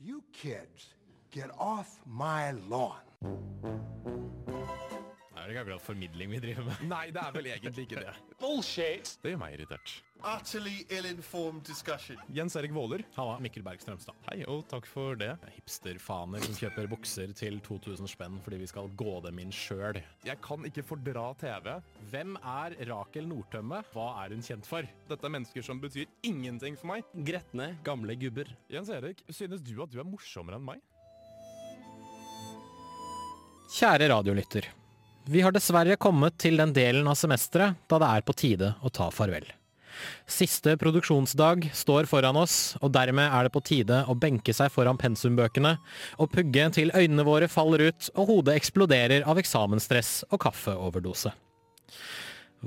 You kids, get off my lawn. Det er ikke akkurat formidling vi driver med. Nei, det er vel egentlig ikke det. Bullshit. Det gjør meg irritert. Utterly ill-informed discussion. Jens Erik Våler, Halla, Mikkel Berg Strømstad. hei og takk for det. Hipsterfaner som kjøper bukser til 2000 spenn fordi vi skal gå dem inn sjøl. Jeg kan ikke fordra TV. Hvem er Rakel Nordtømme? Hva er hun kjent for? Dette er mennesker som betyr ingenting for meg. Gretne, gamle gubber. Jens Erik, synes du at du er morsommere enn meg? Kjære radiolytter. Vi har dessverre kommet til den delen av semesteret da det er på tide å ta farvel. Siste produksjonsdag står foran oss, og dermed er det på tide å benke seg foran pensumbøkene og pugge til øynene våre faller ut og hodet eksploderer av eksamensstress og kaffeoverdose.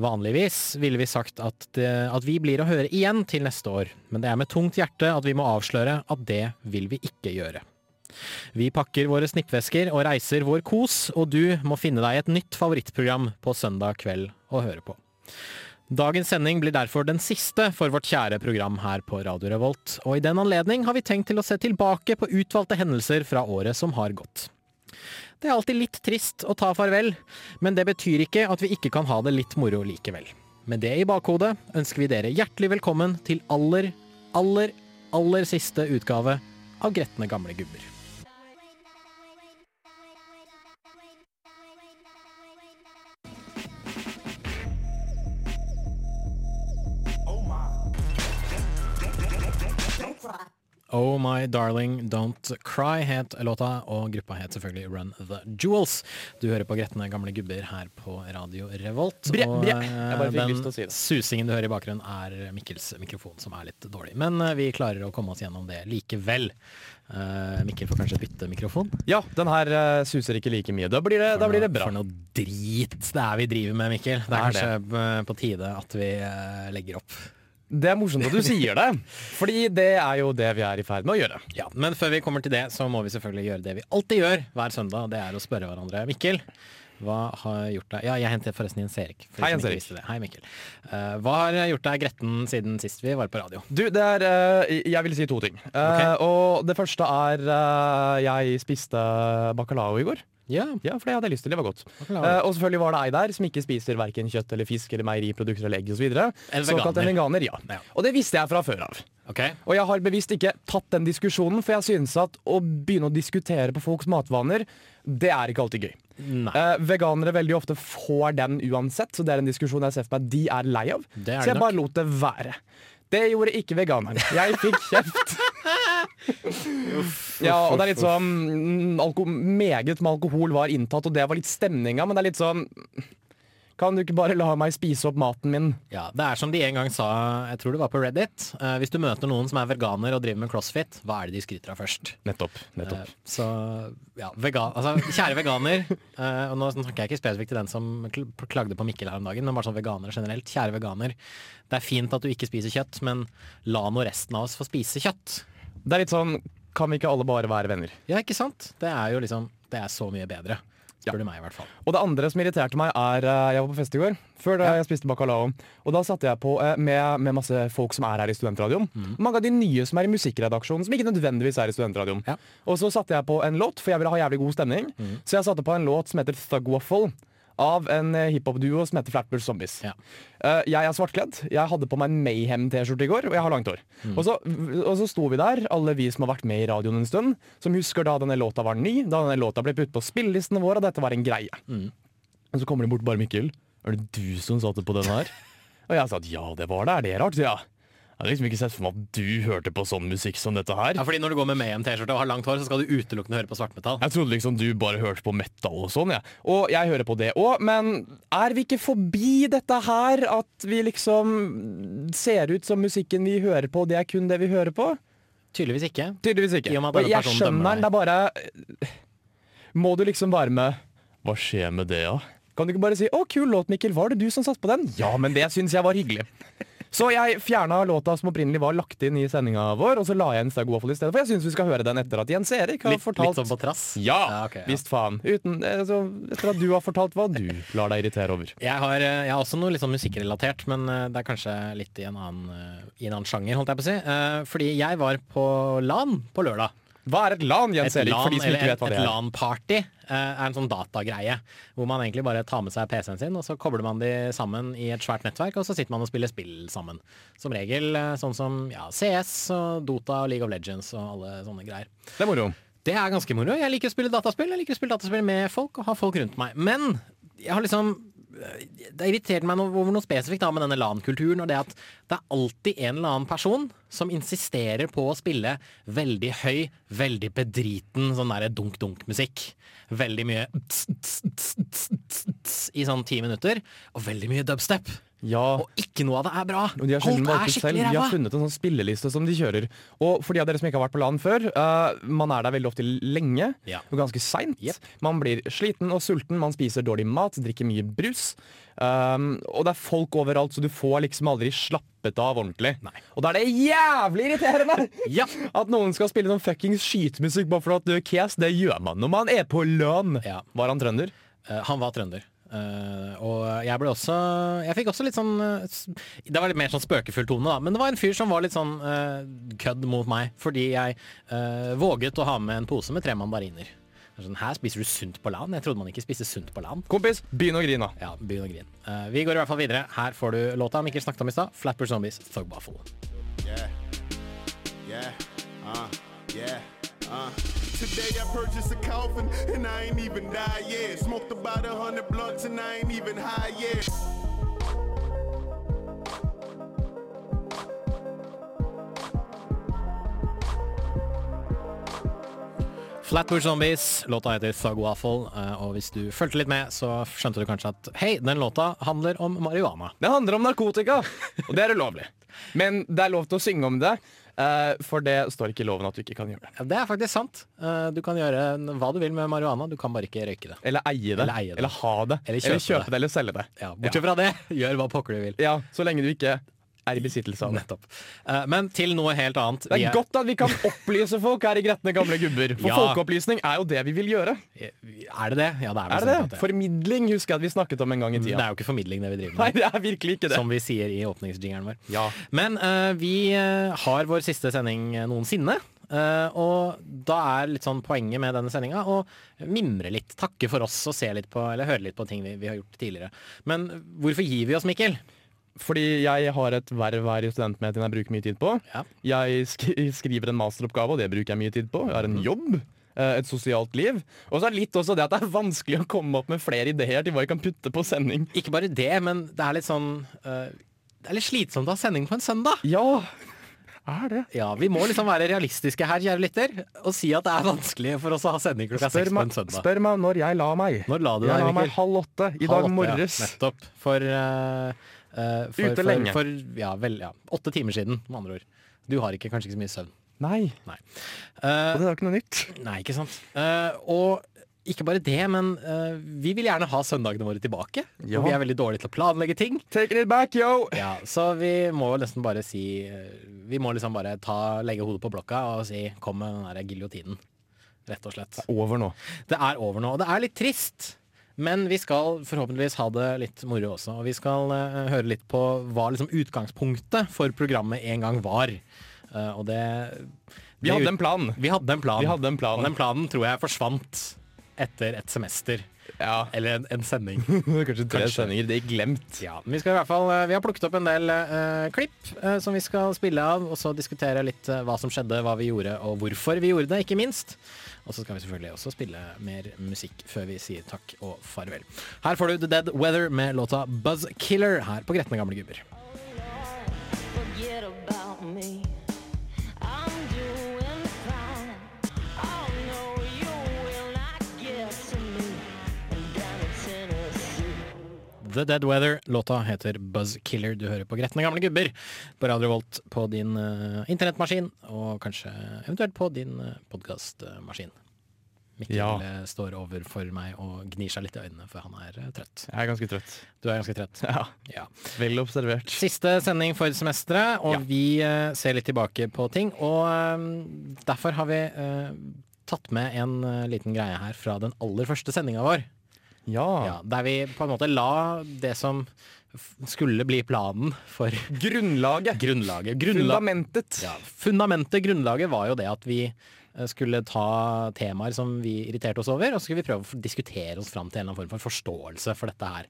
Vanligvis ville vi sagt at, det, at vi blir å høre igjen til neste år, men det er med tungt hjerte at vi må avsløre at det vil vi ikke gjøre. Vi pakker våre snippvesker og reiser vår kos, og du må finne deg et nytt favorittprogram på søndag kveld å høre på. Dagens sending blir derfor den siste for vårt kjære program her på Radio Revolt, og i den anledning har vi tenkt til å se tilbake på utvalgte hendelser fra året som har gått. Det er alltid litt trist å ta farvel, men det betyr ikke at vi ikke kan ha det litt moro likevel. Med det i bakhodet ønsker vi dere hjertelig velkommen til aller, aller, aller siste utgave av Gretne gamle gubber. Oh My Darling Don't Cry het låta, og gruppa het selvfølgelig Run The Jewels. Du hører på Gretne gamle gubber her på Radio Revolt. Bre- og bre. eh, Jeg bare fikk den lyst til å si det. susingen du hører i bakgrunnen, er Mikkels mikrofon, som er litt dårlig. Men eh, vi klarer å komme oss gjennom det likevel. Eh, Mikkel får kanskje bytte mikrofon. Ja, den her eh, suser ikke like mye. Da blir det, da blir det bra. For noe drit det er vi driver med, Mikkel. Det er Det kanskje er eh, på tide at vi eh, legger opp. Det er morsomt at du sier det, fordi det er jo det vi er i ferd med å gjøre. Ja, Men før vi kommer til det, så må vi selvfølgelig gjøre det vi alltid gjør hver søndag. Det er å spørre hverandre. Mikkel, hva har gjort deg Ja, jeg hentet forresten Jens Erik. for de Hei, som Jens ikke Erik. visste det. Hei, Mikkel. Eh, hva har gjort deg gretten siden sist vi var på radio? Du, det er eh, Jeg vil si to ting. Eh, Og det første er eh, Jeg spiste bacalao i går. Ja, Ja, for det hadde jeg lyst til. Det var godt. Bacalao. Eh, og selvfølgelig var det ei der som ikke spiser verken kjøtt eller fisk eller meieriprodukter eller egg osv. En Såkalt en veganer. Ja. Ja. Og det visste jeg fra før av. ok. Og jeg har bevisst ikke tatt den diskusjonen, for jeg synes at å begynne å diskutere på folks matvaner, det er ikke alltid gøy. Nei. Eh, veganere veldig ofte får den uansett, så det er en diskusjon jeg ser for meg de er lei av. Det er så det jeg nok. bare lot det være. Det gjorde ikke veganeren. Jeg fikk kjeft. ja, og det er litt sånn mm, alko Meget med alkohol var inntatt, og det var litt stemninga, men det er litt sånn Kan du ikke bare la meg spise opp maten min? Ja, det er som de en gang sa, jeg tror det var på Reddit. eh, hvis du møter noen som er veganer og driver med crossfit, hva er det de skryter av først? Nettopp. Eh, Så ja, vegan, altså, kjære veganer eh, Og nå snakker jeg ikke spesifikt til den som kl- klagde på Mikkel her om dagen, men bare sånn veganere generelt. Kjære veganer, det er fint at du ikke spiser kjøtt, men la nå resten av oss få spise kjøtt. Det er litt sånn Kan vi ikke alle bare være venner? Ja, ikke sant? Det er jo liksom Det er så mye bedre. Spør du meg, i hvert fall. Og det andre som irriterte meg, er eh, Jeg var på fest i går, før det, jeg spiste bacalao. Og da satte jeg på eh, med, med masse folk som er her i studentradioen. Mm. Mange av de nye som er i musikkredaksjonen, som ikke nødvendigvis er i studentradioen. Ja. Mm. Og så satte jeg på en låt, for jeg ville ha jævlig god stemning. Så jeg satte på en låt som heter Thug Waffle. Av en eh, hiphop-duo som heter Flatbush Zombies. Ja. Eh, jeg er svartkledd. Jeg hadde på meg en Mayhem-T-skjorte i går, og jeg har langt hår. Og, så, og så sto vi der, alle vi som har vært med i radioen en stund, som husker da denne låta var ny, da denne låta ble putt på spillelistene våre, og dette var en greie. Og så kommer de bort bare Mikkel, er det du som satte på den her? og jeg sa at ja, det var det, er det rart? sier jeg. Jeg hadde liksom ikke sett for meg at du hørte på sånn musikk som dette her. Ja, fordi når du går med Mayhem-T-skjorte og har langt hår, så skal du utelukkende høre på svartmetall. Jeg trodde liksom du bare hørte på metal og sånn, jeg. Og jeg hører på det òg, men er vi ikke forbi dette her? At vi liksom ser ut som musikken vi hører på, det er kun det vi hører på? Tydeligvis ikke. Tydeligvis ikke. I og med at Og denne jeg personen skjønner dømmer den, det er bare Må du liksom være med Hva skjer med det, da? Kan du ikke bare si 'Å, kul låt, Mikkel, var det du som satte på den?' Ja, men det syns jeg var hyggelig. Så jeg fjerna låta som opprinnelig var lagt inn i sendinga vår, og så la jeg en Stag Waffle i stedet, for jeg syns vi skal høre den etter at Jens Erik har Litt, fortalt litt sånn på trass. ja, ok, ja. visst faen. Uten, eh, så, etter at du har fortalt hva du lar deg irritere over. Jeg har, eh, jeg har også noe litt sånn musikkrelatert, men eh, det er kanskje litt i en annen, eh, i en annen sjanger, holdt jeg på å si. Eh, Fordi jeg var på LAN på lørdag. Hva er et LAN, Et Jens Erik? LAN For de som eller et, ikke vet hva et det er. LAN-party eh, er en sånn datagreie. Hvor man egentlig bare tar med seg PC-en sin, og så kobler man de sammen i et svært nettverk, og så sitter man og spiller spill sammen. Som regel eh, sånn som ja, CS og Dota og League of Legends og alle sånne greier. Det er moro. Det er ganske moro. Jeg liker å spille dataspill. Jeg liker å spille dataspill med folk og ha folk rundt meg. Men jeg har liksom det har irritert meg noe, over noe spesifikt da, med denne LAN-kulturen. Og det at det er alltid en eller annen person som insisterer på å spille veldig høy, veldig bedriten sånn derre dunk-dunk-musikk. Veldig mye tss, tss, tss, tss, tss, tss, i sånn ti minutter. Og veldig mye dubstep. Ja. Og ikke noe av det er bra. Og de har sjelden Alt valgt er ut selv. skikkelig De har ræva. funnet en sånn spilleliste som de kjører. Og for de av dere som ikke har vært på LAN før, eh, man er der veldig ofte lenge Ja. og ganske seint. Jep. Man blir sliten og sulten, man spiser dårlig mat, drikker mye brus. Um, og det er folk overalt, så du får liksom aldri slappet av ordentlig. Nei. Og da er det jævlig irriterende! Ja. At noen skal spille sånn fuckings skytemusikk bare for at du er kes, det gjør man når man er på LAN. Ja. Var han trønder? Eh, han var trønder. Eh, og jeg ble også Jeg fikk også litt sånn eh, s- Det var litt mer sånn spøkefull tone, da. Men det var en fyr som var litt sånn eh, kødd mot meg. Fordi jeg eh, våget å ha med en pose med tre mandariner. Det er Sånn, Her spiser du sunt på LAN? Jeg trodde man ikke spiste sunt på LAN. Kompis, begynn å grine. Ja, begynn å grine. Eh, vi går i hvert fall videre. Her får du låta Mikkel snakket om i stad. Flapper Zombies, Thug Waffle. Yeah. Yeah. Uh. Yeah. Uh. Today I purchased a coffin and I ain't even died yet. Smoked about a hundred blunts and I ain't even high yet. Flatbush Zombies, låta heter Thug Waffle. eh, og hvis du fulgte litt med, så skjønte du kanskje at hei, den låta handler om marihuana. Det handler om narkotika, og det er ulovlig. Men det er lov til å synge om det, eh, for det står ikke i loven at du ikke kan gjøre det. Ja, Det er faktisk sant. Eh, Du kan gjøre n- hva du vil med marihuana, du kan bare ikke røyke det. Eller eie det. Eller eie det. eller ha det. Eller kjøpe kjøpe det. det, eller selge det. Ja, bortsett fra det, gjør hva pokker du vil. Ja, Så lenge du ikke er i besittelse av det. Nettopp. Eh, Men til noe helt annet. Det Vi er godt at vi kan opplyse folk her i gretne gamle gubber. For Ja. folkeopplysning er jo det vi vil gjøre. Er det det? Ja, det er, vel Er det sant at det? Formidling husker jeg at vi snakket om en gang i det tida. er jo ikke formidling det vi driver med. Nei, det er virkelig ikke det. Som vi sier i åpningsjingeren vår. Ja. Men eh, vi eh, har vår siste sending noensinne. eh, og da er litt sånn poenget med denne sendinga å mimre litt, takke for oss og se litt på, eller høre litt på ting vi, vi har gjort tidligere. Men hvorfor gir vi oss, Mikkel? Fordi jeg har et verv her i studentmedien jeg bruker mye tid på. Ja. Jeg sk skriver en masteroppgave, og det bruker jeg mye tid på. Jeg har en jobb. eh, Et sosialt liv. Og så er det litt også det at det er vanskelig å komme opp med flere ideer til hva jeg kan putte på sending. Ikke bare det, men det er litt sånn eh, Det er litt slitsomt å ha sending på en søndag. Ja, er det. Ja, Vi må liksom være realistiske her, kjære lytter, og si at det er vanskelig for oss å ha sending klokka seks Spør på en meg, søndag. spør meg når jeg la meg. Når la du jeg deg, la meg Mikkel? halv åtte i Halv dag åtte, ja. morges. Nettopp. For, eh, eh, for Ute for, lenge. For, ja, vel, ja, åtte timer siden, med andre ord. Du har ikke, kanskje ikke så mye søvn. Nei, Nei. Eh, og det er jo ikke noe nytt. nei, ikke sant. Eh, og ikke bare det, men eh, vi vil gjerne ha søndagene våre tilbake. Ja. For vi er veldig dårlige til å planlegge ting. Take it back, yo! Ja, så vi må jo nesten bare si eh, Vi må liksom bare ta, legge hodet på blokka og si 'kom med den der giljotinen'. Rett og slett. Over nå. Det er over nå. Og det er litt trist. Men vi skal forhåpentligvis ha det litt moro også. Og vi skal eh, høre litt på hva liksom utgangspunktet for programmet en gang var. Eh, og det Vi hadde en plan. vi hadde en plan. Vi hadde en plan. Og den planen tror jeg forsvant etter et semester. Ja. Eller en, en sending. Kanskje tre Kanskje. sendinger. Det gikk glemt. Ja, men vi, skal i hvert fall, vi har plukket opp en del eh, klipp eh, som vi skal spille av, og så diskutere litt eh, hva som skjedde, hva vi gjorde og hvorfor vi gjorde det, ikke minst. Og så skal vi selvfølgelig også spille mer musikk før vi sier takk og farvel. Her får du The Dead Weather med låta Buzzkiller her på Gretne gamle gubber. Forget about me. I'm doing fine. Oh no, you will not get to me. And down in Tennessee. The Dead Weather. Låta heter Buzzkiller. Du hører på Gretne gamle gubber på Radio Volt på din eh, internettmaskin, og kanskje eventuelt på din uh, podkastmaskin. Mikkel Ja. eh, står over for meg og gnir seg litt i øynene, for han er eh, trøtt. Jeg er ganske trøtt. Du er ganske trett. Ja, Ja. Vel observert. Siste sending for semesteret, og Ja. vi eh, ser litt tilbake på ting. Og eh, derfor har vi eh, tatt med en eh, liten greie her fra den aller første sendinga vår. Ja, Ja. der vi på en måte la det som f- skulle bli planen for Grunnlaget. grunnlaget. Grunnla Fundamentet. ja, fundamentet, grunnlaget, var jo det at vi eh, eh, skulle ta temaer som vi irriterte oss over, og så skulle vi prøve å f- diskutere oss fram til en eller annen form for forståelse for dette her.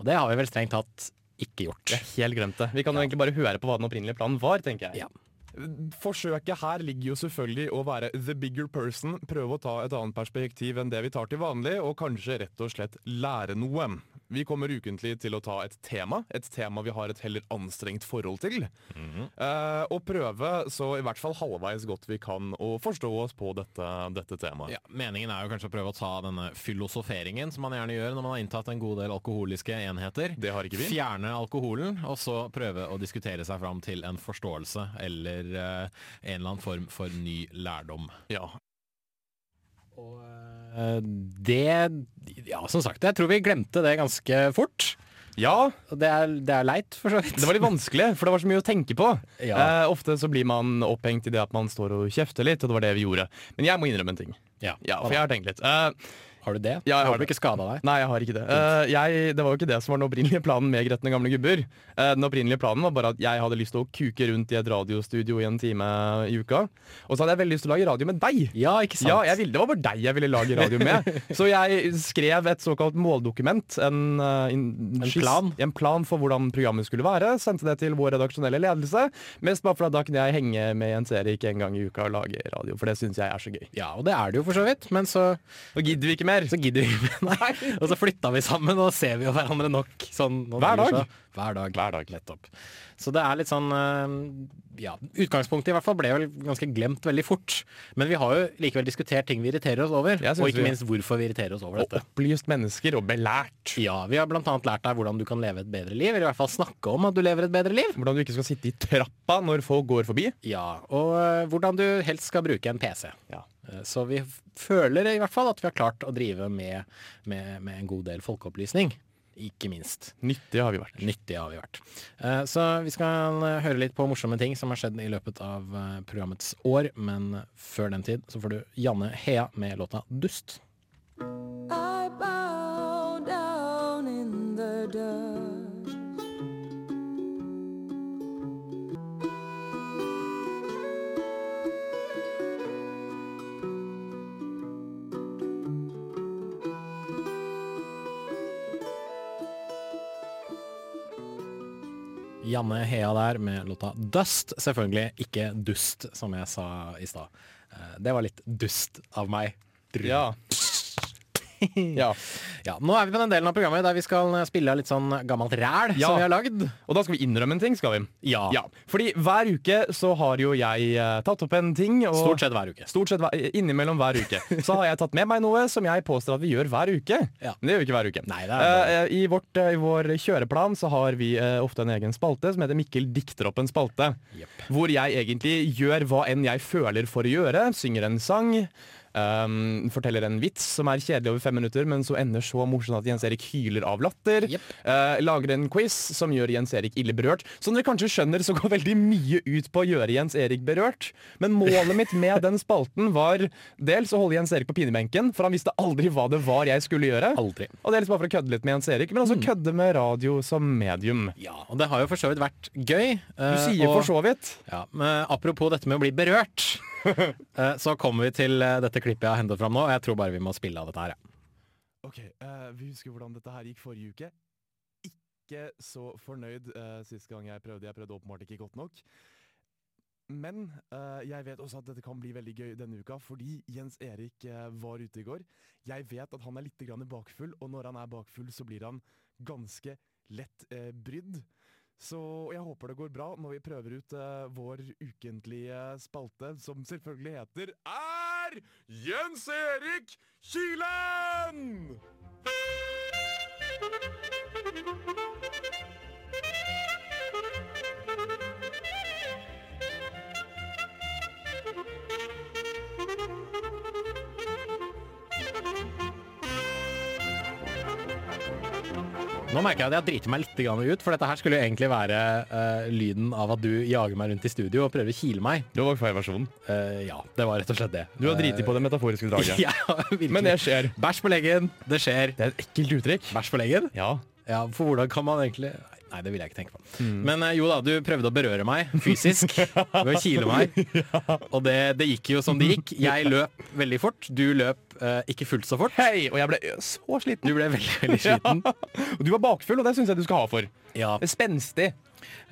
Og det har vi vel strengt tatt ikke gjort. Helt glemt det. Vi kan jo egentlig bare høre på hva den opprinnelige planen var, tenker jeg. Ja. Forsøket her ligger jo selvfølgelig å være the bigger person, prøve å ta et annet perspektiv enn det vi tar til vanlig, og kanskje rett og slett lære noe. Vi kommer ukentlig til å ta et tema, et tema vi har et heller anstrengt forhold til, Mhm. eh, og prøve så i hvert fall halvveis godt vi kan å forstå oss på dette, dette temaet. Ja, meningen er jo kanskje å prøve å ta denne filosoferingen som man gjerne gjør når man har inntatt en god del alkoholiske enheter. Det har ikke vi. Fjerne alkoholen, og så prøve å diskutere seg fram til en forståelse eller eh, en eller annen form for ny lærdom. Ja, Og eh, det Ja, som sagt, jeg tror vi glemte det ganske fort. ja, Og det er, det er leit, for så vidt. Det var litt vanskelig, for det var så mye å tenke på. Ja. Eh, ofte så blir man opphengt i det at man står og kjefter litt, og det var det vi gjorde. Men jeg må innrømme en ting. Ja. Ja, For jeg har tenkt litt. Eh, Har du det? Ja, jeg har har du det. ikke skada deg? nei, jeg har ikke det. Eh, jeg, det var jo ikke det som var den opprinnelige planen med Gretne gamle gubber. Eh, den opprinnelige planen var bare at jeg hadde lyst til å kuke rundt i et radiostudio i en time i uka. Og så hadde jeg veldig lyst til å lage radio med deg. Ja, ikke sant? Ja, jeg ville, Det var bare deg jeg ville lage radio med. Så jeg skrev et såkalt måldokument. En, eh, en, skiss- plan? en plan for hvordan programmet skulle være. Sendte det til vår redaksjonelle ledelse. Mest bare for at da kunne jeg henge med Jens Erik en gang i uka og lage radio. For det syns jeg er så gøy. Ja, og det er det jo for så vidt, men så, Nå gidder vi ikke mer. så gidder vi ikke. Nei. Og så flytta vi sammen, og ser vi jo hverandre nok sånn nå Hver ellers, dag. da. Hver dag. Hver dag. Nettopp. Så det er litt sånn eh, Ja, utgangspunktet i hvert fall ble vel ganske glemt veldig fort. Men vi har jo likevel diskutert ting vi irriterer oss over, Jeg synes og ikke vi- minst hvorfor vi irriterer oss over Og dette. opplyst mennesker og belært. Ja, Vi har blant annet lært deg hvordan du kan leve et bedre liv, eller i hvert fall snakke om at du lever et bedre liv. Hvordan du ikke skal sitte i trappa når folk går forbi. Ja, Og eh, hvordan du helst skal bruke en PC. Ja. Eh, Så vi f- føler i hvert fall at vi har klart å drive med, med, med en god del folkeopplysning. Ikke minst. Nyttige har vi vært. Nyttige har vi vært. Eh, Så vi skal eh, høre litt på morsomme ting som har skjedd i løpet av eh, programmets år, men før den tid så får du Janne Hea med låta 'Dust'. I bow down in the dust. Janne Hea der med låta 'Dust'. Selvfølgelig ikke 'dust', som jeg sa i stad. Eh, Det var litt dust av meg. Ja. ja. Ja, nå er vi på den delen av programmet der vi skal eh, spille av litt sånn gammelt ræl Ja. som vi har lagd. Og da skal vi innrømme en ting, skal vi. Ja. Ja, Fordi hver uke så har jo jeg eh, tatt opp en ting. Og Stort sett hver uke. Stort sett hver- innimellom hver uke. Så har jeg tatt med meg noe som jeg påstår at vi gjør hver uke. Ja. Men det gjør vi ikke hver uke. Nei, det er Eh, I, vårt, eh, I vår kjøreplan så har vi eh, ofte en egen spalte som heter Mikkel dikter opp en spalte. Jepp. Hvor jeg egentlig gjør hva enn jeg føler for å gjøre. Synger en sang. ehm, forteller en vits som er kjedelig over fem minutter, men så ender så morsom at Jens Erik hyler av latter. Jepp. Eh, lager en quiz som gjør Jens Erik ille berørt. Som dere kanskje skjønner, så går veldig mye ut på å gjøre Jens Erik berørt. Men målet mitt med den spalten var dels å holde Jens Erik på pinebenken, for han visste aldri hva det var jeg skulle gjøre. Aldri. Og det er liksom bare for å kødde litt med Jens Erik, men også kødde med radio som medium. Ja, og det har jo for så vidt vært gøy. Eh, Du sier for så vidt. Ja, men eh, apropos dette med å bli berørt, eh, så kommer vi til eh, dette klippet jeg har hentet fram nå, og jeg tror bare vi må spille av dette her. Ja. Ok, eh, vi husker hvordan dette her gikk forrige uke. Ikke så fornøyd uh, sist gang jeg prøvde. Jeg prøvde åpenbart ikke godt nok. Men eh, jeg vet også at dette kan bli veldig gøy denne uka, fordi Jens Erik eh, var ute i går. Jeg vet at han er litt grann bakfull, og når han er bakfull, så blir han ganske lett eh, brydd. Så jeg håper det går bra når vi prøver ut eh, vår ukentlige spalte, som selvfølgelig heter Er Jens Erik Kilen! Nå merker jeg at jeg driter meg litt grann ut, for dette her skulle jo egentlig være eh, lyden av at du jager meg rundt i studio og prøver å kile meg. Du har valgt feil versjon. Eh, ja, det var rett og slett det. Du har driti på det metaforiske draget. Jeg har virkelig- Men det skjer. Bæsj på leggen, det skjer. Det er et ekkelt uttrykk. Bæsj på leggen? Ja. Ja, for hvordan kan man egentlig Nei, Nei, det vil jeg ikke tenke på. Mm. Men eh, jo da, du prøvde å berøre meg fysisk ved å kile meg. Og det, det gikk jo som det gikk. Jeg løp veldig fort. Du løp eh, ikke fullt så fort. Hei, og jeg ble så sliten. Du ble veldig, veldig sliten. Og du var bakfull, og det syns jeg du skal ha for. Ja, Spenstig.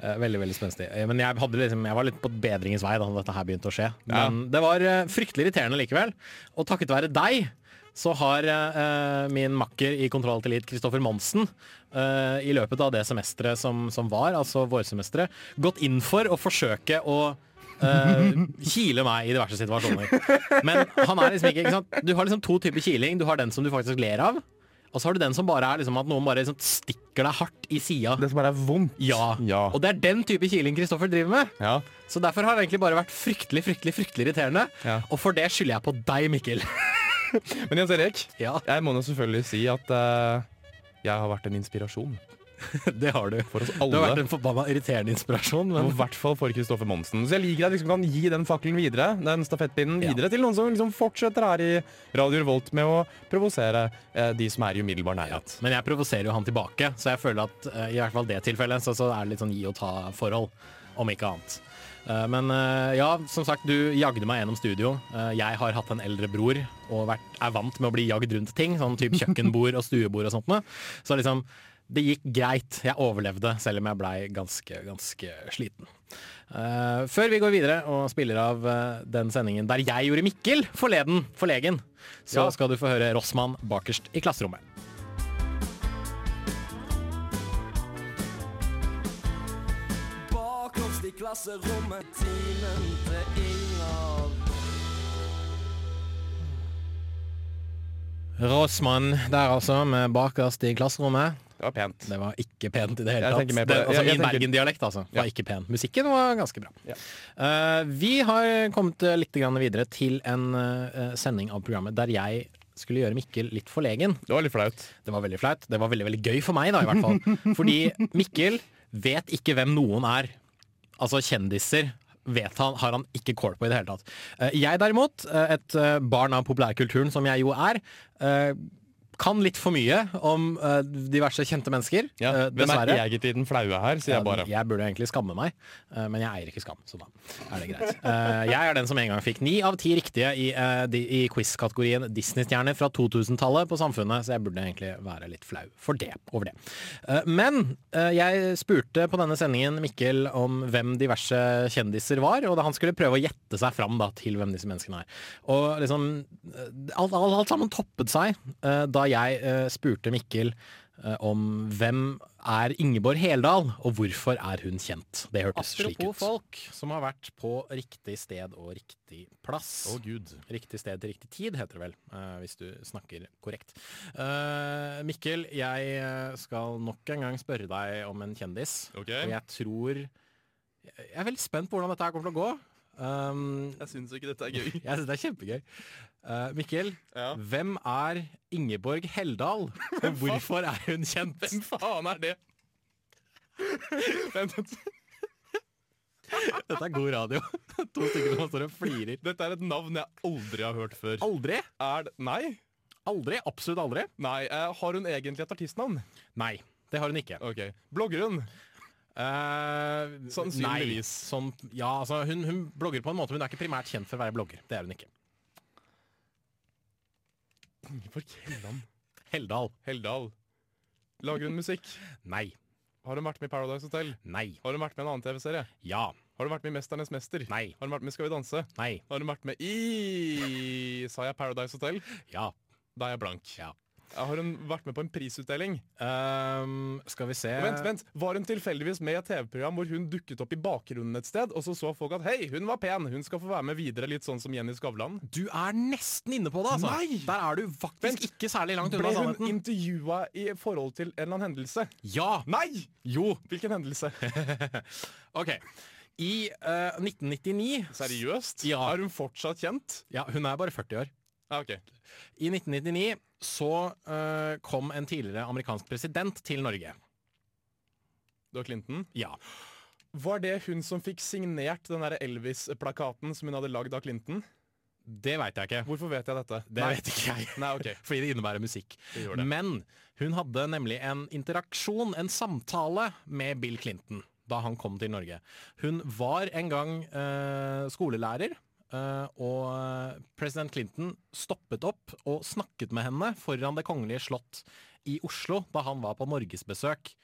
Eh, Veldig veldig spenstig. Eh, Men jeg, hadde liksom, jeg var litt på bedringens vei da dette her begynte å skje. Men det var eh, fryktelig irriterende likevel. Og takket være deg så har eh, min makker i Kontroll til Elite, Kristoffer Monsen, eh, i løpet av det semesteret som, som var, altså vårsemesteret, gått inn for å forsøke å eh, kile meg i diverse situasjoner. Men han er liksom ikke, ikke sant? Du har liksom to typer kiling. Du har den som du faktisk ler av, og så har du den som bare er liksom at noen bare liksom stikker deg hardt i sida. Det som bare er vondt. Ja. Ja. Og det er den type kiling Kristoffer driver med. Ja. Så derfor har det egentlig bare vært fryktelig fryktelig, fryktelig irriterende. Ja. Og for det skylder jeg på deg, Mikkel. Men Jens Erik, Ja, jeg må nå selvfølgelig si at eh, jeg har vært en inspirasjon det har du. for oss Du har vært alle. en forbanna irriterende inspirasjon. Og Sånn, Men I hvert fall for Kristoffer Monsen. Så jeg liker at vi liksom kan gi den fakkelen videre, den stafettpinnen Ja. videre til noen som liksom fortsetter her i Radio Revolt med å provosere eh, de som er i umiddelbar nærhet. men jeg provoserer jo han tilbake, så jeg føler at eh, i hvert fall det tilfellet så, så er det litt sånn gi og ta-forhold, om ikke annet. Eh, men eh, ja, som sagt, du jagde meg gjennom studio. Eh, jeg har hatt en eldre bror og vært, er vant med å bli jagd rundt ting, sånn type kjøkkenbord og stuebord og sånt noe. Så liksom, det gikk greit. Jeg overlevde, selv om jeg blei ganske, ganske sliten. Eh, før vi går videre og spiller av eh, den sendingen der jeg gjorde Mikkel forleden, forlegen, så skal du få høre Rossmann bakerst i klasserommet. Bakerst i klasserommet, timen til Inger. Rossmann der altså, med bakerst i klasserommet. Det var pent. Det var ikke pent i det hele Jeg tatt. tenker mer Det, på det. altså, Jeg- jeg min tenker- Bergen-dialekt altså, var ikke pen. Musikken var ganske bra. Ja. Eh, vi har kommet eh, litt grann videre til en eh, sending av programmet der jeg skulle gjøre Mikkel litt forlegen. Det var litt flaut. Det var veldig flaut. Det var veldig veldig gøy for meg, da, i hvert fall. Fordi Mikkel vet ikke hvem noen er. Altså kjendiser vet han, har han ikke kål på i det hele tatt. Eh, Jeg derimot, eh, et eh, barn av populærkulturen som jeg jo er, eh, kan litt for mye om eh, diverse kjente mennesker. Ja. eh, Hvem er egentlig den flaue her, sier jeg bare. ja, Jeg burde egentlig skamme meg, eh, men jeg eier ikke skam, så da er det greit. Eh, Jeg er den som en gang fikk ni av ti riktige i, eh, de- i quiz-kategorien Disney-stjerner fra 2000-tallet på Samfunnet, så jeg burde egentlig være litt flau for det, over det. Eh, Men eh, jeg spurte på denne sendingen Mikkel om hvem diverse kjendiser var, og da han skulle prøve å gjette seg fram da, til hvem disse menneskene er. Og liksom, eh, alt, alt, alt sammen toppet seg eh, da jeg eh, spurte Mikkel eh, om hvem er Ingeborg Heldal, og hvorfor er hun kjent. Det hørtes slik ut. Apropos folk som har vært på riktig sted og riktig plass. Å, gud. Riktig sted til riktig tid, heter det vel, eh, hvis du snakker korrekt. Eh, Mikkel, jeg eh, skal nok en gang spørre deg om en kjendis. Ok. Og jeg tror Jeg er veldig spent på hvordan dette her kommer til å gå. Um, Jeg syns ikke dette er gøy. jeg synes det er kjempegøy. Eh, Mikkel, Ja. hvem er Ingeborg Heldal? Og hvorfor er hun kjent? Hvem faen er det? Dette er god radio. To stykker som står og flirer. Dette er et navn jeg aldri har hørt før. Aldri. Er det Nei? Aldri. Absolutt aldri. Nei. eh, har hun egentlig et artistnavn? Nei. Det har hun ikke. Ok. Blogger hun? Eh, Sannsynligvis. Nei, sånn, ja, altså, hun, hun blogger på en måte, men hun er ikke primært kjent for å være blogger. Det er hun ikke. Ingeborg Helland. Heldal. Heldal. Lager hun musikk? Nei. Har hun vært med i Paradise Hotel? Nei. Har hun vært med i en annen TV-serie? Ja. Har hun vært med i Mesternes mester? Nei. Har hun vært med i Skal vi danse? Nei. Har hun vært med i Sa jeg Paradise Hotel? Ja. Da er jeg blank. Ja. Har hun vært med på en prisutdeling? Ehm, skal vi se Og Vent, vent, Var hun tilfeldigvis med i et TV-program hvor hun dukket opp i bakgrunnen et sted, og så så folk at hei, hun var pen, hun skal få være med videre, litt sånn som Jenny Skavlan? Du er nesten inne på det, altså. Nei! Der er du faktisk Vent. ikke særlig langt Ble unna hun sannheten. intervjua i forhold til en eller annen hendelse? Ja! Nei! Jo. Hvilken hendelse? OK. I eh, 1999 Seriøst? Ja. Er hun fortsatt kjent? Ja, hun er bare 40 år. Ja, ok. I 1999 så eh, kom en tidligere amerikansk president til Norge. Du har Clinton. Ja. Var det hun som fikk signert den der Elvis-plakaten som hun hadde lagd av Clinton? Det veit jeg ikke. Hvorfor vet jeg dette? Det Nei. vet ikke jeg. Nei, ok. Fordi det innebærer musikk. gjør det. Men hun hadde nemlig en interaksjon, en samtale, med Bill Clinton da han kom til Norge. Hun var en gang eh, skolelærer. eh, og president Clinton stoppet opp og snakket med henne foran Det kongelige slott i Oslo da han var på norgesbesøk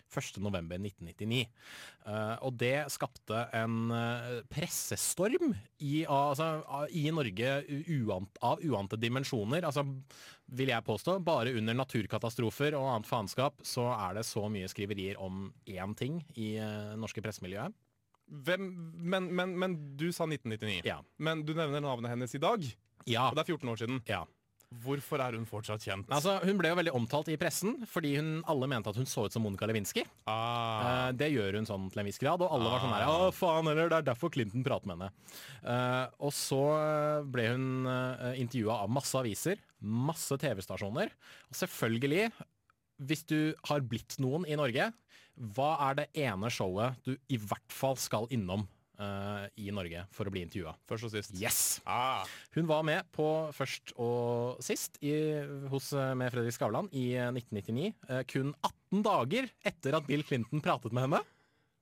1.11.1999. Eh, og det skapte en eh, pressestorm i, altså, av- i Norge u- uant, av uante dimensjoner. Altså, vil jeg påstå, bare under naturkatastrofer og annet faenskap så er det så mye skriverier om én ting i eh, norske pressemiljøet. Hvem, men, men, men du sa 1999. Ja. Men du nevner navnet hennes i dag, Ja. og det er 14 år siden. ja. Hvorfor er hun fortsatt kjent? Altså, hun ble jo veldig omtalt i pressen fordi hun, alle mente at hun så ut som Monica Lewinsky. ah, Eh, det gjør hun sånn til en viss grad, og alle var sånn her Å, faen heller, det er derfor Clinton prater med henne. Eh, og så eh, ble hun uh, intervjua av masse aviser, masse TV-stasjoner. Og selvfølgelig, hvis du har blitt noen i Norge, hva er det ene showet du i hvert fall skal innom eh, i Norge for å bli intervjua? først og sist. Yes! Ah, Hun var med på først og sist i, hos, med Fredrik Skavlan i eh, 1999. eh, kun 18 dager etter at Bill Clinton pratet med henne.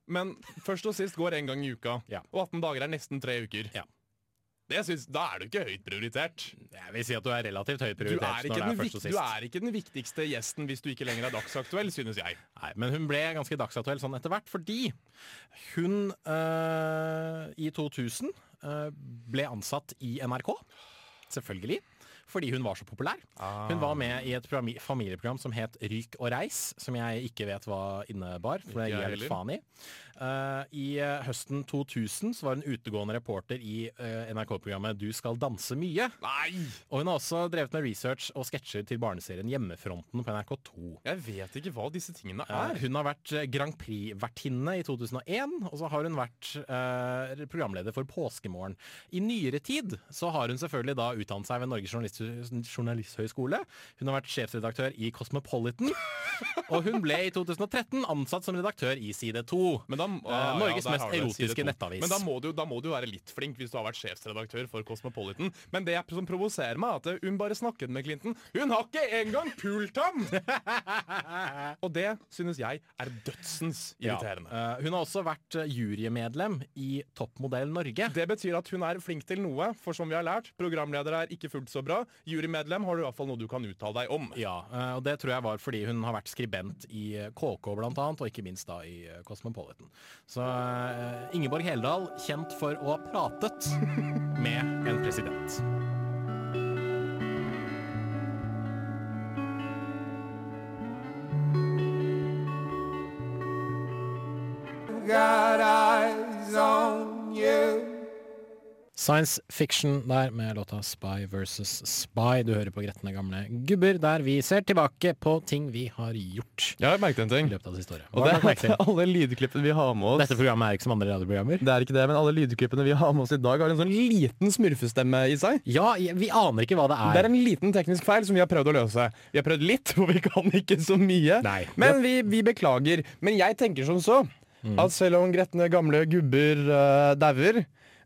men først og sist går én gang i uka, Ja. og 18 dager er nesten tre uker. Ja. Det synes, da er du ikke høyt prioritert. Jeg vil si at du er relativt høyt Du prioritert er, ikke når det den er først og vik- sist. du er ikke den viktigste gjesten hvis du ikke lenger er dagsaktuell, synes jeg. Nei, men hun ble ganske dagsaktuell sånn etter hvert, fordi hun øh, i 2000 øh, ble ansatt i NRK. Selvfølgelig. Fordi hun var så populær. Hun var med i et programi- familieprogram som het Ryk og reis, som jeg ikke vet hva innebar. For det Ikke jeg gir jeg litt heller. faen i. Eh, I eh, høsten 2000 så var hun utegående reporter i eh, NRK-programmet Du skal danse mye. Nei! Og hun har også drevet med research og sketsjer til barneserien Hjemmefronten på NRK2. Jeg vet ikke hva disse tingene Eh, er. Hun har vært eh, Grand Prix-vertinne i 2001, og så har hun vært eh, programleder for Påskemorgen. I nyere tid så har hun selvfølgelig da utdannet seg ved Norges journalist journalisthøgskole. Hun har vært sjefsredaktør i Cosmopolitan, og hun ble i 2013 ansatt som redaktør i Side 2. Men da, Eh, ja, Norges der mest har du det, side erotiske to. nettavis. Men da må, du, da må du jo være litt flink hvis du har vært sjefsredaktør for Cosmopolitan. Men det jeg- som provoserer meg, er at hun bare snakket med Clinton. Hun har ikke engang pult ham! Og det synes jeg er dødsens irriterende. Ja. Eh, hun har også vært eh, jurymedlem i Toppmodell Norge. Det betyr at hun er flink til noe, for som vi har lært, programleder er ikke fullt så bra. Jurymedlem har du i hvert fall noe du kan uttale deg om. Ja, eh, og det tror jeg var fordi hun har vært skribent i eh, KK blant annet, og ikke minst da i eh, Cosmopolitan. Så eh, Ingeborg Heldal, kjent for å ha pratet med en president. Got eyes on you. Science fiction der med låta Spy versus Spy. Du hører på gretne gamle gubber, der vi ser tilbake på ting vi har gjort Jeg har merket en i ting. løpet av det siste året. Og Hva det har du lagt er merke til? alle lydklippene vi har med oss. Dette programmet er ikke som andre radioprogrammer. Det er ikke det, men alle lydklippene vi har med oss i dag, har en sånn liten smurfestemme i seg. Ja, jeg- vi aner ikke hva det Det er er. en liten teknisk feil som vi har prøvd å løse. Vi har prøvd litt, og vi kan ikke så mye. Nei. Men vi, vi beklager. Men jeg tenker som så at selv om gretne gamle gubber uh, dauer,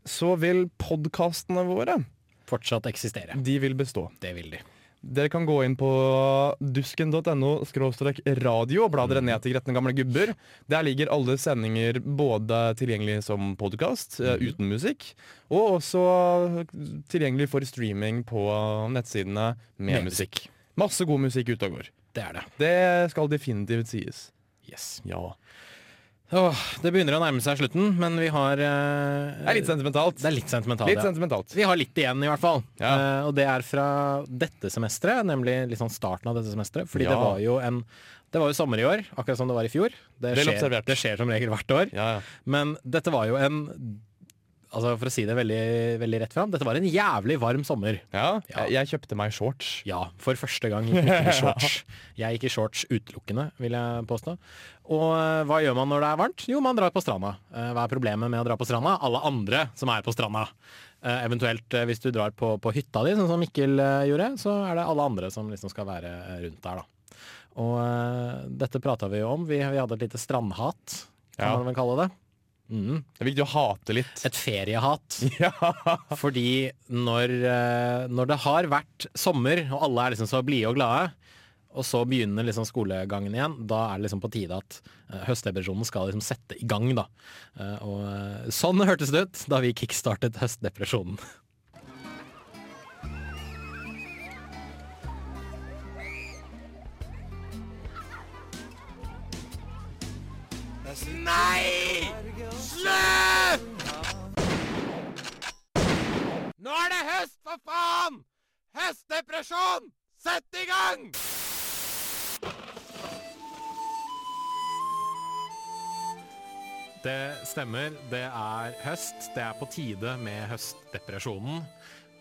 så vil podkastene våre Fortsatt eksistere. de vil bestå. Det vil de. Dere kan gå inn på dusken.no skråstrek radio og bla Mm. dere ned til Gretne gamle gubber. Der ligger alle sendinger både tilgjengelig som podkast Mm. uten musikk, og også tilgjengelig for streaming på nettsidene med, Med musikk. Masse god musikk ute og går. Det er det. Det skal definitivt sies. Yes. Ja. Åh, det begynner å nærme seg slutten, men vi har eh, Det er litt sentimentalt. Det er litt sentimentalt. Litt ja. sentimentalt. Vi har litt igjen, i hvert fall. Ja. Eh, og det er fra dette semesteret, nemlig litt sånn starten av dette semesteret. Fordi Ja. det var jo en Det var jo sommer i år, akkurat som det var i fjor. Det Vel skjer, observert. det skjer som regel hvert år. Ja, ja. Men dette var jo en Altså For å si det veldig, veldig rett fram, dette var en jævlig varm sommer. ja. Jeg, jeg kjøpte meg shorts. Ja, for første gang gikk jeg i shorts. Jeg gikk i shorts utelukkende, vil jeg påstå. Og eh, hva gjør man når det er varmt? Jo, man drar på stranda. Eh, Hva er problemet med å dra på stranda? Alle andre som er på stranda. Eh, Eventuelt eh, hvis du drar på, på hytta di, sånn som Mikkel eh, gjorde, så er det alle andre som liksom skal være eh, rundt der, da. Og eh, dette prata vi jo om. Vi, vi hadde et lite strandhat, kan Ja. man vel kalle det. Mm. Det er viktig å hate litt. Et feriehat. Ja. Fordi når, eh, når det har vært sommer, og alle er liksom så blide og glade, og så begynner liksom skolegangen igjen, da er det liksom på tide at eh, høstdepresjonen skal liksom sette i gang. da. Eh, Og eh, sånn hørtes det ut da vi kickstartet høstdepresjonen. Nå er det høst, for faen! Høstdepresjon! Sett i gang! Det stemmer. Det er høst. Det er på tide med høstdepresjonen.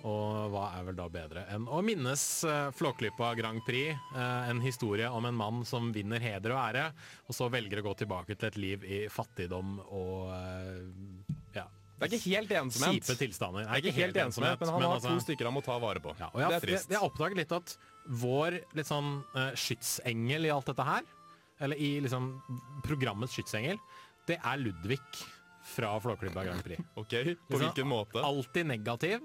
Og hva er vel da bedre enn å minnes eh, Flåklypa Grand Prix? eh, en historie om en mann som vinner heder og ære, og så velger å gå tilbake til et liv i fattigdom og eh, ja, Det er ikke helt ensomhet. kjipe tilstander. Det Det er ikke helt ensomhet, men han har altså, to stykker han må ta vare på. altså- ja, og jeg, det har- er trist. Jeg, jeg har oppdaget litt at vår litt sånn eh, skytsengel i alt dette her, eller i liksom programmets skytsengel, det er Ludvig fra Flåklypa Grand Prix. Ok, På Liksom, hvilken måte? Alltid negativ.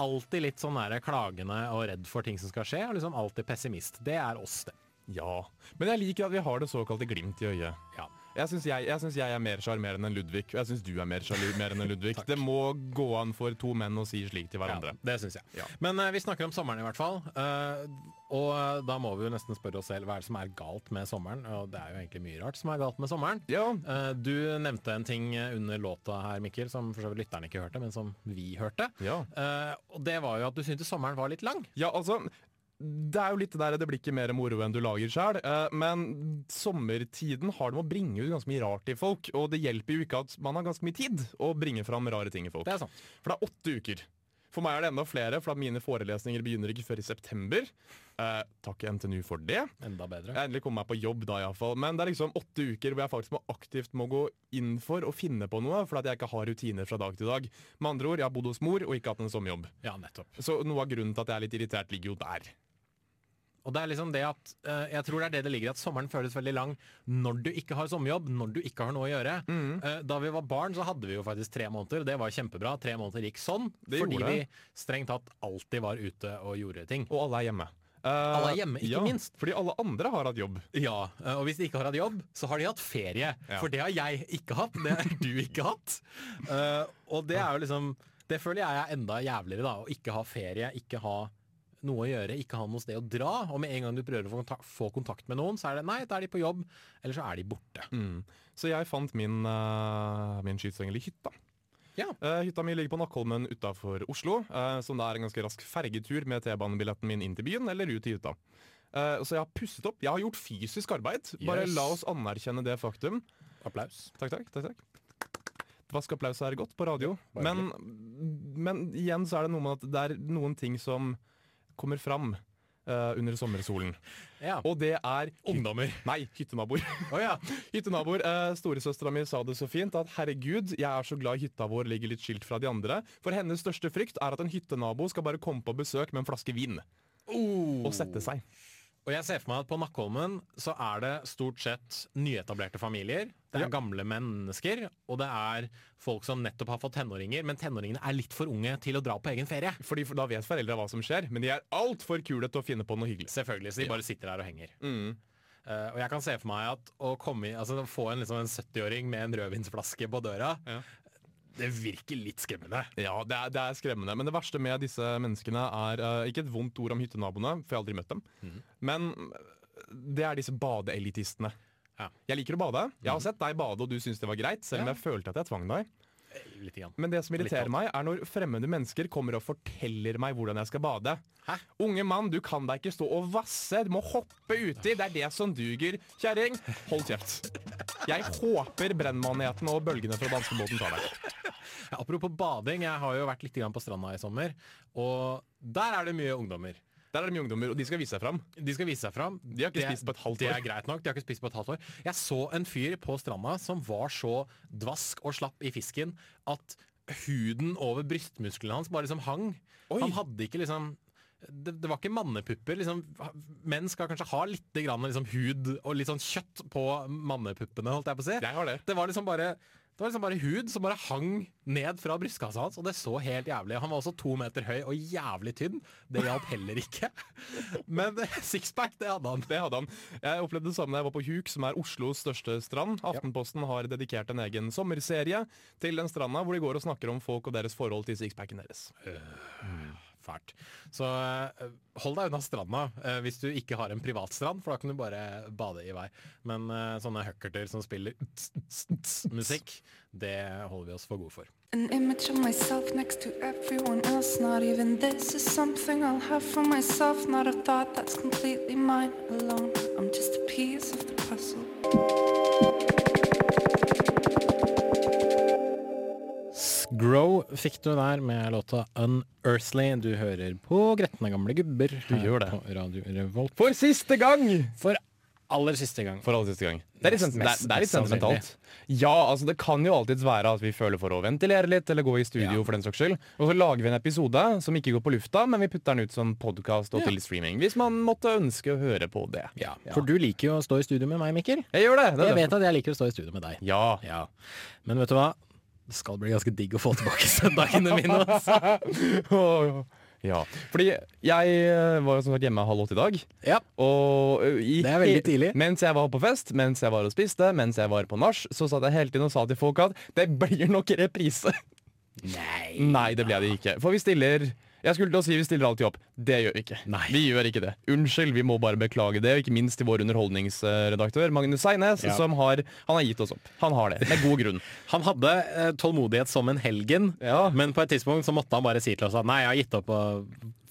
Alltid litt sånn der klagende og redd for ting som skal skje, og liksom alltid pessimist. Det er oss, det. Ja. Men jeg liker at vi har det såkalte glimt i øyet. Ja. Jeg syns jeg, jeg, synes jeg er mer sjarmerende enn Ludvig, og jeg syns du er mer sjarmerende enn Ludvig. Det må gå an for to menn å si slik til hverandre. Ja, det syns jeg. Men eh, vi snakker om sommeren i hvert fall. Eh, og eh, da må vi jo nesten spørre oss selv hva er det som er galt med sommeren. Og det er jo egentlig mye rart som er galt med sommeren. Ja. Eh, du nevnte en ting eh, under låta her, Mikkel, som for så vidt lytterne ikke hørte, men som vi hørte. Ja. Eh, og det var jo at du syntes sommeren var litt lang. Ja, altså det er jo litt det der det blir ikke mer moro enn du lager sjøl, men sommertiden har det med å bringe ut ganske mye rart i folk. Og det hjelper jo ikke at man har ganske mye tid å bringe fram rare ting i folk. Det er sant. For det er åtte uker. For meg er det enda flere, for at mine forelesninger begynner ikke før i september. Eh, takk NTNU for det. Enda bedre. Jeg endelig kom meg på jobb da, iallfall. Men det er liksom åtte uker hvor jeg faktisk må aktivt må gå inn for å finne på noe, fordi at jeg ikke har rutiner fra dag til dag. Med andre ord, jeg har bodd hos mor og ikke hatt en sommerjobb. Ja, nettopp. Så noe av grunnen til at jeg er litt irritert, ligger jo der. Og det er liksom det at eh, Jeg tror det er det det ligger i at sommeren føles veldig lang når du ikke har sommerjobb, når du ikke har noe å gjøre. Mm. Eh, da vi var barn, så hadde vi jo faktisk tre måneder, og det var kjempebra. Tre måneder gikk sånn Det fordi gjorde vi det. strengt tatt alltid var ute og gjorde ting. Og alle er hjemme. Alle er hjemme, ikke Eh, ja, minst. Fordi alle andre har hatt jobb. Eh, Ja, eh, og hvis de ikke har hatt jobb, så har de hatt ferie. Ja. For det har jeg ikke hatt, det har du ikke hatt. Eh, og det er jo liksom Det føler jeg er enda jævligere, da. Å ikke ha ferie, ikke ha noe å gjøre, ikke ha noe sted å dra. Og med en gang du prøver å få kontakt, få kontakt med noen, så er det nei, da er de på jobb, eller så er de borte. Mm. Så jeg fant min, uh, min skytsengel i hytta. Ja. Eh, hytta mi ligger på Nakkholmen utafor Oslo, eh, som det er en ganske rask fergetur med T-banebilletten min inn til byen eller ut til hytta. Eh, så jeg har pusset opp. Jeg har gjort fysisk arbeid. Bare Yes. la oss anerkjenne det faktum. Applaus. Takk, takk, takk, takk. Vask applaus er godt på radio. Men, men igjen så er det noe med at det er noen ting som kommer fram eh, under sommersolen. Ja. Og det er Ungdommer. Nei, hyttenaboer. Å ja. Hyttenaboer, eh, Storesøstera mi sa det så fint at herregud, jeg er så glad hytta vår ligger litt skilt fra de andre. For hennes største frykt er at en hyttenabo skal bare komme på besøk med en flaske vin. Og sette seg. Og jeg ser for meg at på Nakkholmen så er det stort sett nyetablerte familier. Det er gamle mennesker, og det er folk som nettopp har fått tenåringer, men tenåringene er litt for unge til å dra på egen ferie. Fordi da vet foreldra hva som skjer, men de er altfor kule til å finne på noe hyggelig. Mm. Selvfølgelig, så de bare sitter der og henger. Eh, og jeg kan se for meg at å komme i, altså, å få en, liksom, en 70-åring med en rødvinsflaske på døra, Ja. det virker litt skremmende. Ja, det er, det er skremmende. Men det verste med disse menneskene er eh, ikke et vondt ord om hyttenaboene, for jeg har aldri møtt dem. Men eh, det er disse badeelitistene. Ja. Jeg liker å bade. Jeg har sett deg bade, og du syns det var greit, selv om jeg følte at jeg tvang deg. Litt igjen. Men det som irriterer Litt meg, er når fremmede mennesker kommer og forteller meg hvordan jeg skal bade. Unge mann, du kan deg ikke stå og vasse. Du må hoppe uti. Det er det som duger. Kjerring, hold kjeft. Jeg håper brennmaneten og bølgene fra danskebåten tar deg. Ja, apropos bading, jeg har jo vært litt grann på stranda i sommer, og der er det mye ungdommer. Der er det mye ungdommer, og de skal vise seg fram. De skal vise seg fram. De har ikke spist på et halvt Det år. er greit nok. De har ikke spist på et halvt år. Jeg så en fyr på stranda som var så dvask og slapp i fisken at huden over brystmusklene hans bare liksom hang. Oi. Han hadde ikke liksom det, det var ikke mannepupper. Liksom, menn skal kanskje ha litt grann, liksom, hud og litt sånn kjøtt på mannepuppene, holdt jeg på å si. Jeg har det. Det var liksom bare Det var liksom bare hud som bare hang ned fra brystkassa hans, og det så helt jævlig. Han var også to meter høy og jævlig tynn. Det hjalp heller ikke. Men eh, sixpack, det hadde han. Det hadde han. Jeg opplevde det samme da jeg var på Huk, som er Oslos største strand. Aftenposten har dedikert en egen sommerserie til den stranda, hvor de går og snakker om folk og deres forhold til sixpacken deres. Fælt. Så eh, hold deg unna stranda eh, hvis du ikke har en privat strand, for da kan du bare bade i vei. Men eh, sånne huckerter som spiller musikk, det holder vi oss for gode for. An image of myself next to everyone else. Not even this is something I'll have for myself. Not a thought that's completely mine alone. I'm just a piece of the puzzle. Grow fikk du der med låta Unearthly. Du hører på gretne gamle gubber du gjør det. på Radio Revolt. For siste gang! For aller siste gang. For aller siste gang. Det er litt, sent, det er, det er litt Mest sannsynlig. sentimentalt. Ja, altså det kan jo alltids være at vi føler for å ventilere litt, eller gå i studio for den saks skyld. Og så lager vi en episode som ikke går på lufta, men vi putter den ut som podkast og til streaming. Hvis man måtte ønske å høre på det. Ja. For du liker jo å stå i studio med meg, Mikkel. Jeg gjør det! det er Jeg derfor- vet at jeg liker å stå i studio med deg. Ja. Ja. Men vet du hva? Det skal bli ganske digg å få tilbake søndagene mine. Altså. Åh, ja. Fordi jeg eh, var jo som sagt hjemme halv åtte i dag. Ja. Og ø, i, Det er veldig tidlig. Mens jeg var på fest, mens jeg var og spiste, mens jeg var på nach, så satt jeg hele tiden og sa til folk at det blir nok reprise. Nei. Nei, det ble det ikke. For vi stiller Jeg skulle til å si vi stiller alltid opp. Det gjør vi ikke. Nei. Vi gjør ikke det. Unnskyld, vi må bare beklage det. Og ikke minst til vår underholdningsredaktør Magnus Seines, Ja. som har Han har gitt oss opp. Han har det. Med god grunn. Han hadde eh, tålmodighet som en helgen, Ja. men på et tidspunkt så måtte han bare si til oss at nei, jeg har gitt opp å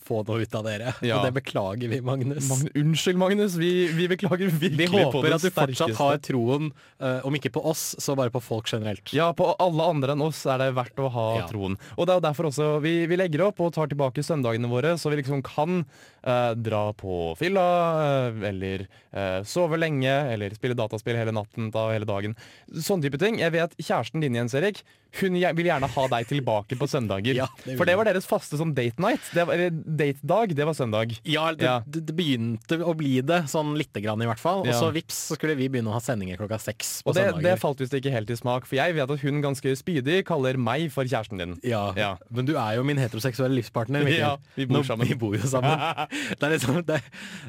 få noe ut av dere. Ja. Og det beklager vi, Magnus. Magn- unnskyld, Magnus. Vi, vi beklager virkelig vi på håper det at du fortsatt sterkeste. har troen, eh, om ikke på oss, så bare på folk generelt. Ja, på alle andre enn oss er det verdt å ha Ja. troen. Og det er jo derfor også vi, vi legger opp og tar tilbake søndagene våre, så vi liksom kan eh, dra på fylla, eh, eller eh, sove lenge, eller spille dataspill hele natten da, hele dagen. Sånne type ting. Jeg vet kjæresten din, Jens Erik, hun gje- vil gjerne ha deg tilbake på søndager. Ja, det vil For det hun. var deres faste sånn date night. Det var, eller date-dag, det var søndag. Ja, det, Ja. Det, det begynte å bli det, sånn lite grann i hvert fall. Og Ja. så vips, så skulle vi begynne å ha sendinger klokka seks på Og det, det søndager. falt visst ikke helt i smak, for jeg vet at hun ganske spydig kaller meg for kjæresten din. ja. Ja. Men du er jo min heteroseksuelle livspartner. Mikkel. Ja, vi Nå- bor sammen. Vi bor jo sammen. Det er, litt sånn- det,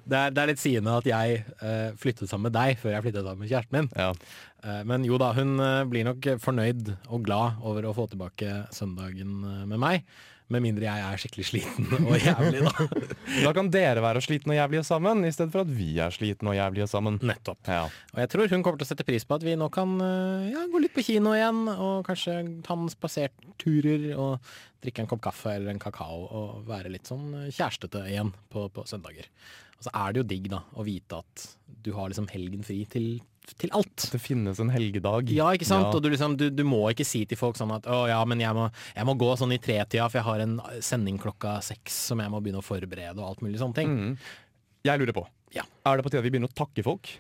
det er, det er litt sigende at jeg eh, flyttet sammen med deg før jeg flyttet sammen med kjæresten min. Ja. Eh, men jo da, hun eh, blir nok fornøyd og glad over å få tilbake søndagen eh, med meg. Med mindre jeg er skikkelig sliten og jævlig, da. Da kan dere være slitne og jævlige sammen, i stedet for at vi er slitne og jævlige sammen. Nettopp. Ja. Og jeg tror hun kommer til å sette pris på at vi nå kan eh, ja, gå litt på kino igjen, og kanskje ta noen spaserturer og drikke en kopp kaffe eller en kakao og være litt sånn eh, kjærestete igjen på, på søndager. Og så er det jo digg da å vite at du har liksom helgen fri til, til alt. Det finnes en helgedag. Ja, ikke sant? Ja. Og du, liksom, du, du må ikke si til folk sånn at å ja, men jeg må, jeg må gå sånn i tretida, for jeg har en sending klokka seks som jeg må begynne å forberede og alt mulig sånne ting. Jeg lurer på. Ja. Er det på tide at vi begynner å takke folk?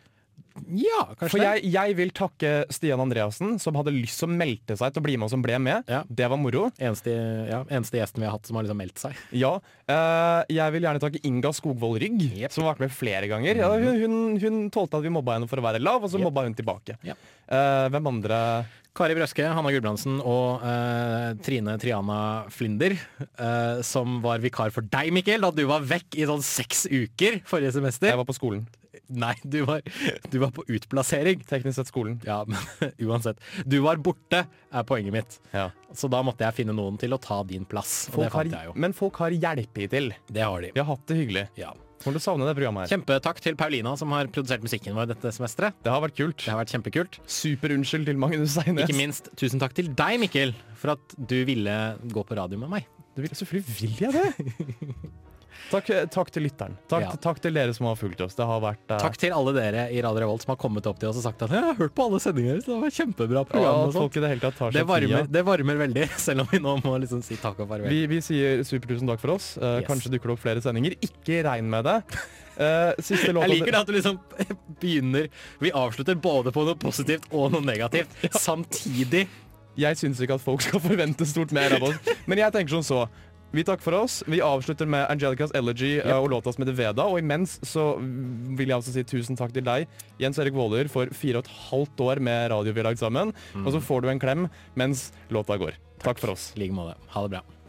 Ja, kanskje For det. jeg, jeg vil takke Stian Andreassen, som hadde lyst som meldte seg til å bli med, og som ble med. Ja. Det var moro. Eneste, ja, eneste gjesten vi har hatt som har liksom meldt seg. Ja. Eh, jeg vil gjerne takke Inga Skogvold Rygg, Jep. Mhm. som har vært med flere ganger. Ja, hun, hun, hun tålte at vi mobba henne for å være lav, og så Jep. mobba hun tilbake. Ja. Eh, hvem andre Kari Brøske, Hanna Gulbrandsen og eh, Trine Triana Flinder, eh, som var vikar for deg, Mikkel, da du var vekk i sånn seks uker forrige semester. Jeg var på skolen. Nei, du var, du var på utplassering. Teknisk sett skolen. Ja, men uansett. Du var borte, er poenget mitt. Ja. Så da måtte jeg finne noen til å ta din plass. Og det Folk fant har, jeg jo. men folk har hjulpet til. Det har de. Vi har hatt det hyggelig. Ja. Kommer til å savne det programmet her. Kjempetakk til Paulina, som har produsert musikken vår dette semesteret. Det har vært kult. Det har vært kjempekult. Super unnskyld til Magnus Seines. Ikke minst tusen takk til deg, Mikkel, for at du ville gå på radio med meg. Du vil, selvfølgelig vil jeg det! takk, eh, takk til lytteren. Takk, Ja. takk til dere som har fulgt oss. Det har vært eh, Takk til alle dere i Radio Revolt som har kommet opp til oss og sagt at «Jeg har hørt på alle sendingene deres, det var kjempebra ja, program og at sånt. folk i det hele tatt tar Det seg varmer, tida. det varmer veldig, selv om vi nå må liksom si takk og farvel. Vi, vi sier supertusen takk for oss. Eh, Yes. Kanskje dukker det opp flere sendinger. Ikke regn med det. Eh, siste låta Jeg liker det at du liksom begynner Vi avslutter både på noe positivt og noe negativt samtidig. Jeg syns ikke at folk skal forvente stort mer av oss, men jeg tenker som så. Vi takker for oss. Vi avslutter med Angelicas Elegy eh, og låta som heter Veda. Og imens så mm, vil jeg også si tusen takk til deg, Jens Erik Våler, for fire og et halvt år med radio vi har lagd sammen. Og så får du en klem mens låta går. Takk for oss. I like måte. Ha det bra.